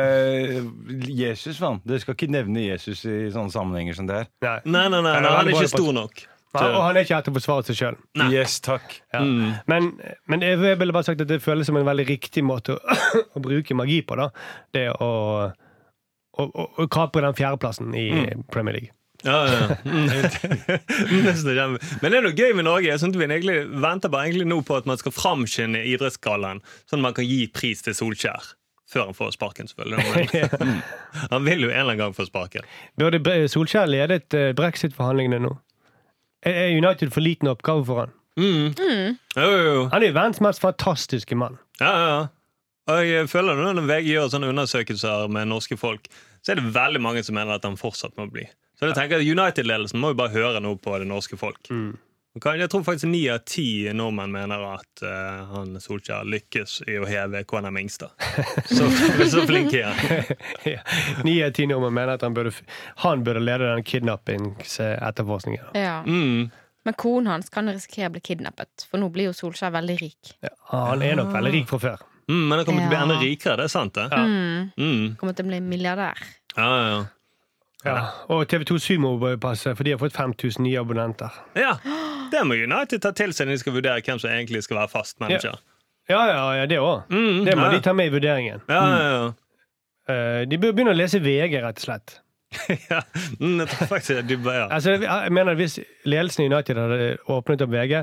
Speaker 2: med Jesus, mann. Dere skal ikke nevne Jesus i sånne sammenhenger som det her.
Speaker 4: Nei.
Speaker 7: Nei, nei, nei, nei, han er ikke stor nok.
Speaker 4: Han- Og han er ikke her til å forsvare seg sjøl.
Speaker 2: Yes, takk.
Speaker 4: Ja. Men, men jeg ville bare sagt at det føles som en veldig riktig måte å, å bruke magi på. da Det å, å, å, å kapre den fjerdeplassen i Premier League.
Speaker 7: Ja, ja. Mm. Nesten kjempe. Men det er noe gøy med Norge. Jeg synes vi egentlig venter bare egentlig nå på at man skal framskynde idrettsgallaen, sånn at man kan gi pris til Solskjær. Før han får sparken, selvfølgelig. Men- Han vil jo en eller annen gang få sparken.
Speaker 4: Burde Bre- Solskjær ledet eh, brexit-forhandlingene nå? Er- Er United for liten oppgave for han?
Speaker 7: Jo, jo, jo.
Speaker 4: Han er jo verdens mest fantastiske mann.
Speaker 7: Ja, ja, ja. Og jeg føler nå Når VG gjør sånne undersøkelser med norske folk, så er det veldig mange som mener at han fortsatt må bli. Så jeg tenker at United-ledelsen må jo bare høre noe på det norske folk. Og kan- Jeg tror faktisk ni av ti nordmenn mener at eh, han Solskjær lykkes i å heve Kåna Mingstad. Så, så flink er han.
Speaker 4: Ja. Ni av ti nordmenn mener at han burde, f- han burde lede den eh, kidnappingsetterforskningen.
Speaker 3: Ja.
Speaker 7: Mm.
Speaker 3: Men konen hans kan risikere å bli kidnappet, for nå blir jo Solskjær veldig rik.
Speaker 4: Ja, han er nok veldig rik fra før.
Speaker 7: Mm, men han kommer til å bli
Speaker 3: Ja.
Speaker 7: enda rikere, det er sant, det? Ja, mm.
Speaker 3: Kommer til å bli milliardær.
Speaker 7: ja, ja.
Speaker 4: Ja. Og TV2 Sumo bør passe, for de har fått 5000 nye abonnenter.
Speaker 7: ja. Det må United ta til seg når de skal vurdere hvem som egentlig skal være fast manager.
Speaker 4: Ja, ja, ja det òg.
Speaker 7: Mm,
Speaker 4: Det må
Speaker 7: ja.
Speaker 4: de ta med i vurderingen.
Speaker 7: Ja, ja, ja.
Speaker 4: Eh, De bør begynne å lese VG, rett og slett.
Speaker 7: ja. Mm, jeg tror faktisk at de bare, ja.
Speaker 4: Altså, jeg mener at Hvis ledelsen i United hadde åpnet opp VG,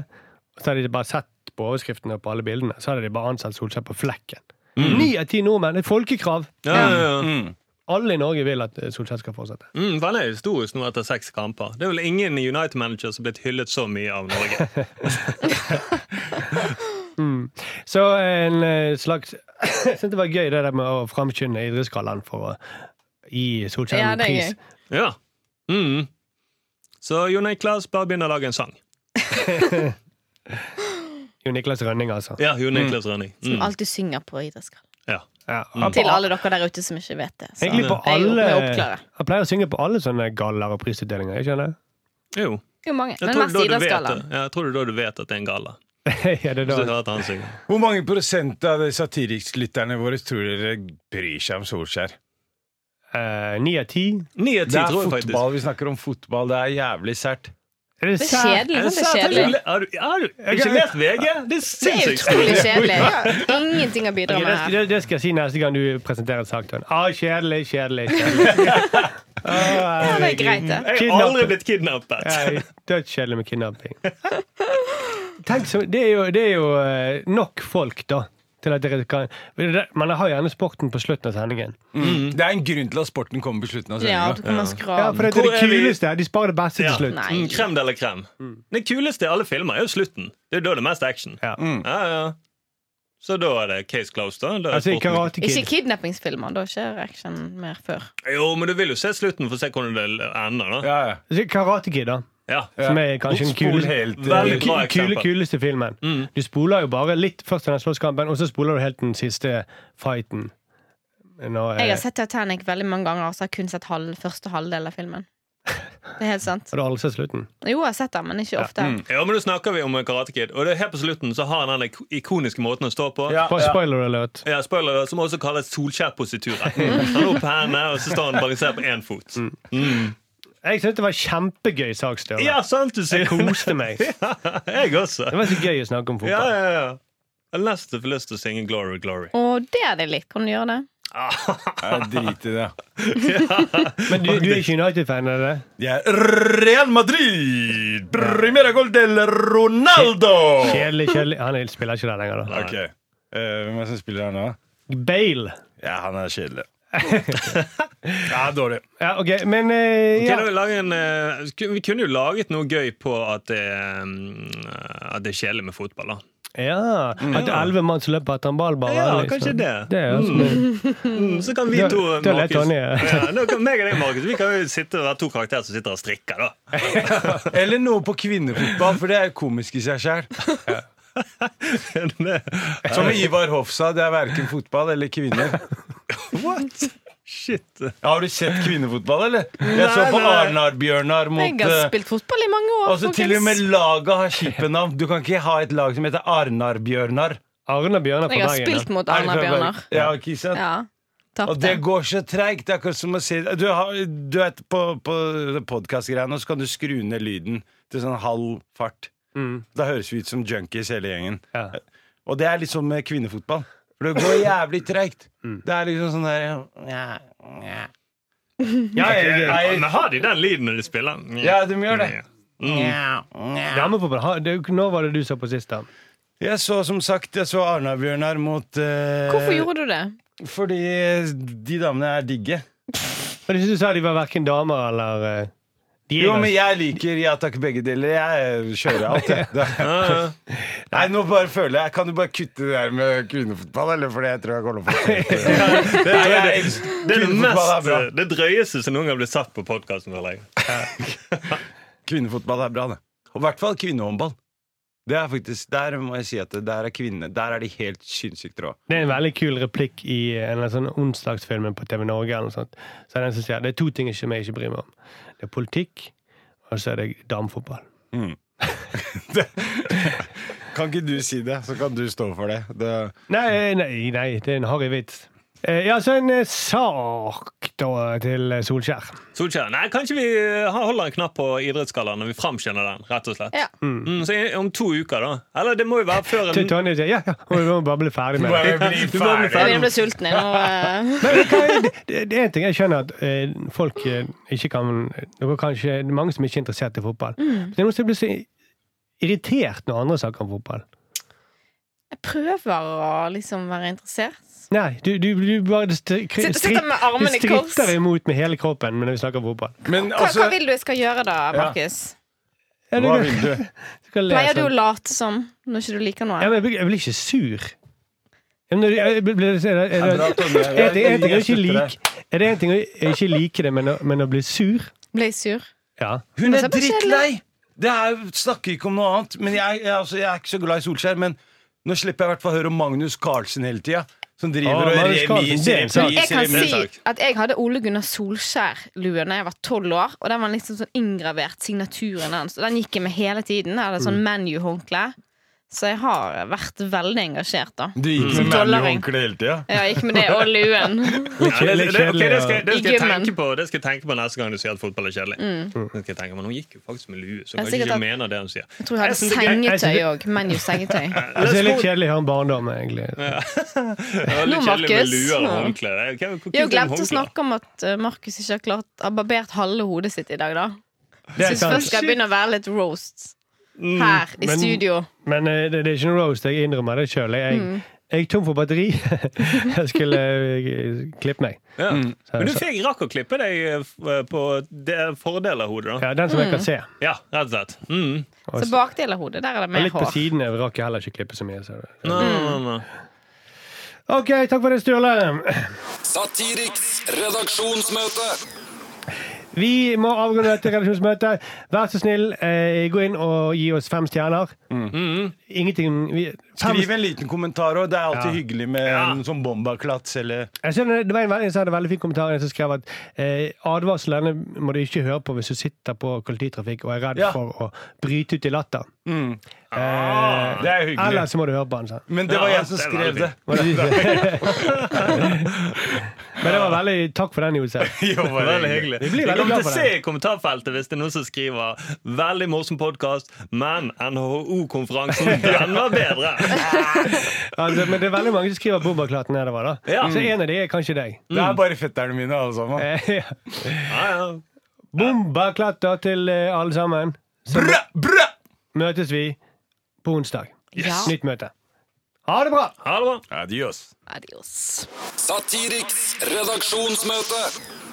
Speaker 4: så hadde de bare sett på overskriftene og på alle bildene, så hadde de bare ansatt Solskjær på flekken.
Speaker 7: Mm.
Speaker 4: Ni av ti nordmenn! Det er folkekrav!
Speaker 7: Ja, Mm. ja, ja.
Speaker 4: Alle i Norge vil at eh, Solskjær skal fortsette.
Speaker 7: Mm, for han er historisk nå etter seks kamper. Det er vel ingen United-manager som har blitt hyllet så mye av Norge.
Speaker 4: Så en eh, slags Jeg syns det var gøy det der med å framskynde idrettsgallaen for å gi Solskjær
Speaker 3: Ja,
Speaker 4: en
Speaker 3: det er
Speaker 4: pris.
Speaker 3: gøy.
Speaker 7: Ja. Mm. Så Jon Niklas, bare begynn å lage en sang.
Speaker 4: Jo Niklas Rønning, altså.
Speaker 7: Ja, Jon Niklas Rønning.
Speaker 3: Som
Speaker 7: Mm.
Speaker 3: alltid synger på idrettsgallaen.
Speaker 7: Ja.
Speaker 4: Ja.
Speaker 3: Til alle dere der ute som ikke vet det. Så
Speaker 4: Egentlig på
Speaker 3: jeg er jo
Speaker 4: alle
Speaker 3: med å oppklare.
Speaker 4: Han pleier å synge på alle sånne galler og prisutdelinger. ikke sant?
Speaker 7: Jo.
Speaker 3: Det er jo mange,
Speaker 7: Jeg
Speaker 3: men
Speaker 7: tror,
Speaker 3: mest
Speaker 7: da du vet
Speaker 3: idrettsgallaen.
Speaker 7: det. Ja, jeg tror da du vet at det er en galla.
Speaker 4: det? ja, det er
Speaker 7: Hvis du
Speaker 4: da.
Speaker 7: hører at han synger.
Speaker 2: Hvor mange prosent av de satirikslytterne våre tror dere bryr seg om Solskjær?
Speaker 4: Eh, Ni av ti.
Speaker 7: Ni av
Speaker 2: Det
Speaker 7: ti,
Speaker 2: er
Speaker 7: tror jeg faktisk.
Speaker 2: fotball, vi snakker om fotball. Det er jævlig sært.
Speaker 4: Er det
Speaker 3: Det er
Speaker 4: sært?
Speaker 3: kjedelig. sant? Det er
Speaker 7: Har du,
Speaker 3: kjedelig.
Speaker 7: har du, har du ikke lest VG? Det er
Speaker 3: Det er
Speaker 7: sinnssykt!
Speaker 3: utrolig kjedelig. Jeg har Ingenting å bidra
Speaker 4: Ok,
Speaker 3: med
Speaker 4: det,
Speaker 3: her.
Speaker 4: det, det skal jeg si neste gang du presenterer en sak til henne. Ah, kjedelig, kjedelig, kjedelig.
Speaker 3: Ja, det er greit, det.
Speaker 7: Jeg har
Speaker 4: Kidnappet.
Speaker 7: aldri blitt kidnappet.
Speaker 4: Nei, Dødskjedelig med kidnapping. Tenk så, det, er jo, det er jo eh, nok folk, da, Til at dere kan, man har gjerne sporten på slutten av sendingen.
Speaker 2: Mm. Det er en grunn til at sporten kommer på slutten av
Speaker 3: Ja, da
Speaker 2: sendinga.
Speaker 3: kan man skru
Speaker 4: Ja,
Speaker 3: av.
Speaker 4: for det er
Speaker 7: Hvor
Speaker 4: det
Speaker 7: er vi-
Speaker 4: kuleste. De sparer det beste
Speaker 7: Ja.
Speaker 4: til slutt.
Speaker 3: Nei.
Speaker 7: Mm, Krem eller krem. Det kuleste i alle filmer er jo slutten. Det er jo da det er mest action.
Speaker 4: Ja.
Speaker 7: Ja, ja. Så da er det case closed. da. da er
Speaker 4: Altså i
Speaker 7: sporten-
Speaker 4: Karate
Speaker 3: Ikke
Speaker 4: Kid.
Speaker 3: kidnappingsfilmer. Da skjer action mer før.
Speaker 7: Jo, men du vil jo se slutten for å se hvordan det ender. da
Speaker 2: Ja, ja.
Speaker 4: Altså, Karate Kid, da.
Speaker 7: Ja,
Speaker 4: Som er kanskje den
Speaker 2: Spol
Speaker 4: kuleste,
Speaker 2: helt, eh,
Speaker 7: Veldig bra
Speaker 4: kule, kule,
Speaker 7: eksempel. Mm.
Speaker 4: kuleste filmen. Du spoler jo bare litt først til den slåsskampen, og så spoler du helt den siste fighten. Når, eh,
Speaker 3: Jeg har sett Titanic veldig mange ganger, og så har jeg kun sett halv, første halvdel av filmen. Det er helt sant.
Speaker 4: Har du aldri sett slutten?
Speaker 3: Jo, jeg har sett den, men ikke ofte.
Speaker 2: Mm.
Speaker 7: Ja, men Nå snakker vi om Karate Kid, og det er helt på slutten så har han den ik- ikoniske måten å stå på.
Speaker 2: Ja,
Speaker 4: Spo-
Speaker 2: ja.
Speaker 4: Spoiler alert.
Speaker 7: Ja, spoiler, Som også kalles solskjærposituren. Han er opp hendene, og så står han balansert på én fot.
Speaker 4: Jeg syntes det var kjempegøy sak, Støre.
Speaker 7: Ja, sant du sier!
Speaker 4: Jeg koste meg. Det
Speaker 7: Jeg også.
Speaker 4: var så gøy å snakke om
Speaker 7: Ja,
Speaker 4: fotball.
Speaker 7: ja, ja. Jeg har lyst til, lyst til å synge 'Glory, Glory'.
Speaker 3: Og det er det litt. Kan du gjøre det?
Speaker 2: Ja, Drit i det.
Speaker 4: Men du, du er ikke United-fan, er du det?
Speaker 2: Det er Real Madrid! Primera gol del Ronaldo!
Speaker 4: Kjedelig, kjedelig. Han er- spiller ikke der lenger, da.
Speaker 2: Ok, eh, Hvem er det som spiller her nå?
Speaker 4: Bale.
Speaker 2: Ja, han er kjedelig. ja, dårlig.
Speaker 4: Ja, OK, men eh,
Speaker 7: Ok,
Speaker 4: ja.
Speaker 7: da vil vi lage en, eh, sku- vi kunne jo laget noe gøy på at det, eh, at det er kjedelig med fotball. da
Speaker 4: ja. At elleve mann som løper etter en ball, bare.
Speaker 7: Mm. Ja,
Speaker 4: liksom.
Speaker 7: kanskje det.
Speaker 4: det er, jo som-
Speaker 7: Mm, Så kan vi
Speaker 4: Da-
Speaker 7: to
Speaker 4: da er det Tonje.
Speaker 7: ja, nå kan meg og deg, Markus, Vi kan jo sitte og være to karakterer som sitter og strikker. da
Speaker 2: Eller noe på kvinnefotball, for det er komisk i seg sjæl.
Speaker 7: Det-
Speaker 2: Som Ivar Hoff sa, det er verken fotball eller kvinner.
Speaker 7: What? Shit.
Speaker 2: Har du sett kvinnefotball, eller? Jeg så på
Speaker 7: Nei, nei.
Speaker 2: Arnar-Bjørnar mot
Speaker 3: Jeg har
Speaker 2: eh,
Speaker 3: spilt fotball i mange år.
Speaker 2: Altså Til og med laget har kjipe navn. Du kan ikke ha et lag som heter Arnar-Bjørnar.
Speaker 4: Arne Bjørnar fra
Speaker 3: Jeg har
Speaker 4: Bergen. ja.
Speaker 3: spilt mot
Speaker 2: Er det
Speaker 3: Arnar
Speaker 2: fra
Speaker 3: Bjørnar.
Speaker 2: Bergen? Ja, ikke sant?
Speaker 3: Ja,
Speaker 2: Og
Speaker 3: Tapte.
Speaker 2: det går så treigt. Det er akkurat som å si Du, har, du er på, på podkast-greiene, og så kan du skru ned lyden til sånn halv fart.
Speaker 4: Mm.
Speaker 2: Da høres vi ut som junkies hele gjengen.
Speaker 4: Ja.
Speaker 2: Og det er litt som med kvinnefotball. For det går jævlig treigt.
Speaker 4: Mm.
Speaker 2: Det er liksom sånn der ja, ja.
Speaker 4: Ja, jeg, jeg,
Speaker 7: Men har de den lyden når de spiller? Mm.
Speaker 2: ja, de gjør det.
Speaker 4: Damefotball. ha- det er jo ikke- Når var det du så på sist, da?
Speaker 2: Jeg så som sagt Jeg så Arna-Bjørnar mot eh,
Speaker 3: Hvorfor gjorde du det?
Speaker 2: Fordi de damene er digge.
Speaker 4: Men du synes du sa de var verken damer eller eh, de er
Speaker 2: Jo, men
Speaker 4: ganske-
Speaker 2: jeg liker ja takk, begge deler. Jeg eh, kjører alt, jeg. Det-
Speaker 7: Ja, ja.
Speaker 2: Nei, nå bare føler jeg Kan du bare kutte det der med kvinnefotball, eller? For jeg tror jeg kommer til å få
Speaker 7: Det, tror jeg det, det er det
Speaker 2: Kvinnefotball er
Speaker 7: mest
Speaker 2: bra.
Speaker 7: eh, Det drøyeste som noen gang ble satt på podkasten. Ja,
Speaker 2: Kvinnefotball er bra, det. Og i hvert fall kvinnehåndball. Det er faktisk, Der må jeg si at det, der er kvinne Der er de helt sinnssykt rå.
Speaker 4: Det er en veldig kul replikk i en eller annen sånn onsdagsfilm på TV Norge. eller noe sånt. Så er det en som sier det er to ting jeg ikke- jeg ikke bryr meg om. Det er politikk, og så er det damefotball.
Speaker 2: Kan ikke du si det, så kan du stå for det. det
Speaker 4: Nei, eh, nei, nei, det er en harry vits. Eh, Ja, så en eh, sak da til eh, Solskjær.
Speaker 2: Mm.
Speaker 7: Solskjær. Nei, kanskje vi eh, holder en knapp på idrettsgallaen når vi framskynder den. rett og slett
Speaker 3: Ja.
Speaker 7: mm, Så i- Om to uker, da. Eller det må jo være før
Speaker 4: Til
Speaker 7: en
Speaker 4: Tonje sier ja, ja, hun må bare bli ferdig med det.
Speaker 7: Du må bli
Speaker 3: Jeg
Speaker 7: ferdig.
Speaker 3: begynner å bli sulten. Jeg nå. eh,
Speaker 4: Men det, kan, det, det er en ting jeg skjønner at eh, folk eh, ikke kan Dere kan ikke, Det er mange som ikke er interessert i fotball.
Speaker 3: Mm.
Speaker 4: Det er noen som blir så irritert når andre snakker om fotball.
Speaker 3: Jeg prøver å liksom være interessert.
Speaker 4: Nei, du, du, du bare stri,
Speaker 3: Sitter- sitter med
Speaker 4: du
Speaker 3: armene i kors.
Speaker 4: stritter imot med hele kroppen når vi snakker om fotball.
Speaker 2: Men
Speaker 3: Hva, hva
Speaker 2: altså
Speaker 3: vil du jeg skal gjøre da, Markus?
Speaker 4: Ja,
Speaker 2: Hva vil du?
Speaker 4: skal lese-
Speaker 3: Pleier du å late som når ikke du liker
Speaker 4: ja,
Speaker 3: noe?
Speaker 4: men jeg, blir, jeg blir ikke sur. Ja, men jeg- jeg blir- blir- er det- er det-
Speaker 2: Bra, Tonje.
Speaker 4: er det en ting å
Speaker 2: Jeg
Speaker 4: ikke
Speaker 2: støtter deg.
Speaker 4: like Er det en ting å ikke like det, men å, men å bli sur?
Speaker 3: Ble jeg sur?
Speaker 4: Ja.
Speaker 2: Hun
Speaker 3: Men
Speaker 2: er
Speaker 3: så er det
Speaker 2: drittlei! Det er, snakker ikke om noe annet. Men jeg, jeg, altså, jeg er ikke så glad i Solskjær. Men nå slipper jeg i hvert fall høre om Magnus Carlsen hele tida. Som
Speaker 4: Å,
Speaker 2: driver og
Speaker 4: Ah, Magnus
Speaker 2: remis,
Speaker 4: Carlsen,
Speaker 2: remis,
Speaker 4: det er en sak.
Speaker 3: Jeg kan
Speaker 2: remis.
Speaker 3: si at jeg hadde Ole Gunnar Solskjær-lue da jeg var tolv år. Og den var liksom sånn inngravert signaturen hans. Og den gikk jeg med hele tiden. Jeg
Speaker 4: Mm.
Speaker 3: hadde sånn ManU-håndkle. Så jeg har vært veldig engasjert, da.
Speaker 2: Du gikk med
Speaker 3: Dollaring.
Speaker 2: Manny-håndkle hele tida?
Speaker 3: Ja, Jeg gikk med det og luen.
Speaker 7: Ja, det, det, det, ok, det, skal, jeg- det, skal jeg
Speaker 3: I gymmen.
Speaker 7: tenke på, det skal jeg tenke på neste gang du sier at fotball er kjedelig. Det skal jeg tenke på, Men hun gikk jo faktisk med lue, så
Speaker 3: Jeg
Speaker 7: hun
Speaker 3: Mm.
Speaker 7: kanskje
Speaker 3: sikkert at-
Speaker 7: ikke mener det hun sier.
Speaker 3: Jeg tror jeg hadde sånn
Speaker 7: synes det er gøy.
Speaker 3: sengetøy òg.
Speaker 4: Jeg
Speaker 3: ManU-sengetøy.
Speaker 4: synes Altså, det er
Speaker 7: Let's
Speaker 4: litt
Speaker 7: go.
Speaker 4: kjedelig å ha en barndom, egentlig.
Speaker 7: Det var
Speaker 3: Nå,
Speaker 7: litt kjedelig med
Speaker 3: Markus.
Speaker 7: luer og
Speaker 3: Ja.
Speaker 7: håndklær. Det er- hvor- hvor
Speaker 3: Jeg har
Speaker 7: kult er det med
Speaker 3: glemt å
Speaker 7: håndklær?
Speaker 3: snakke om at eh, Markus ikke har klart har barbert halve hodet sitt i dag, da.
Speaker 4: Det er
Speaker 3: Syns
Speaker 4: sant. Mm,
Speaker 3: først skal jeg begynne å være litt roast her i
Speaker 4: Men-
Speaker 3: studio.
Speaker 4: Men eh, det, det er ikke noe roast. Jeg innrømmer det sjøl. Jeg, Jeg er tom for batteri. jeg skulle eh, klippe meg.
Speaker 7: Ja.
Speaker 4: Så-
Speaker 7: Men du
Speaker 4: så-
Speaker 7: fikk rakk å klippe deg eh, på det fordelerhodet, da.
Speaker 4: Ja, den som jeg kan se.
Speaker 7: Ja, rett og slett. Mm.
Speaker 4: Og
Speaker 3: Så bakdel av hodet, der er det
Speaker 4: og
Speaker 3: mer
Speaker 4: Altså- litt på
Speaker 3: hår.
Speaker 4: siden rakk jeg heller ikke klippe så mye. Så.
Speaker 7: Nå, nå,
Speaker 3: Mm.
Speaker 7: nå.
Speaker 4: OK, takk for det, Sturle.
Speaker 6: Satiriks redaksjonsmøte.
Speaker 4: Vi må avgå dette redaksjonsmøtet. Vær så snill, eh, gå inn og gi oss fem stjerner.
Speaker 2: Mm.
Speaker 4: Ingenting vi, fem,
Speaker 2: Skriv en liten kommentar òg. Det er alltid
Speaker 4: Ja.
Speaker 2: hyggelig med en sånn bombaklats eller
Speaker 4: Jeg så det, det var en veldig, så hadde en veldig fin kommentar en som skrev at eh, advarslene må du ikke høre på hvis du sitter på kollektivtrafikk og er redd
Speaker 2: Ja.
Speaker 4: for å bryte ut i latter.
Speaker 2: Ah, Det er hyggelig.
Speaker 4: Eller så må du høre på den. sa han.
Speaker 2: Men det var
Speaker 7: Ja,
Speaker 2: jeg som
Speaker 7: det er
Speaker 2: skrev
Speaker 7: veldig
Speaker 2: det.
Speaker 4: Var det du? Men det var veldig Takk for den, Josef.
Speaker 2: Jo,
Speaker 7: Det var veldig hyggelig.
Speaker 4: blir
Speaker 7: Vi
Speaker 4: veldig
Speaker 7: kommer
Speaker 4: glad
Speaker 7: til å
Speaker 4: for
Speaker 7: se
Speaker 4: det.
Speaker 7: i kommentarfeltet hvis det er noen som skriver 'veldig morsom podkast', men NHO-konferansen, den var bedre.
Speaker 4: Altså, men det er veldig mange som skriver 'Bombaklatt' nedover. da
Speaker 7: Ja.
Speaker 4: Så en av de er kanskje deg.
Speaker 2: Det er bare fetterne mine, alle sammen.
Speaker 4: Mm. Eh, ja.
Speaker 7: Ja, ja.
Speaker 4: Bombaklatter til eh, alle sammen. Så
Speaker 2: Brø, brø!
Speaker 4: møtes vi på onsdag.
Speaker 3: Ja.
Speaker 4: Nytt møte. Ha det bra!
Speaker 7: Ha det bra.
Speaker 2: Adios.
Speaker 3: Adios.
Speaker 6: Satiriks redaksjonsmøte.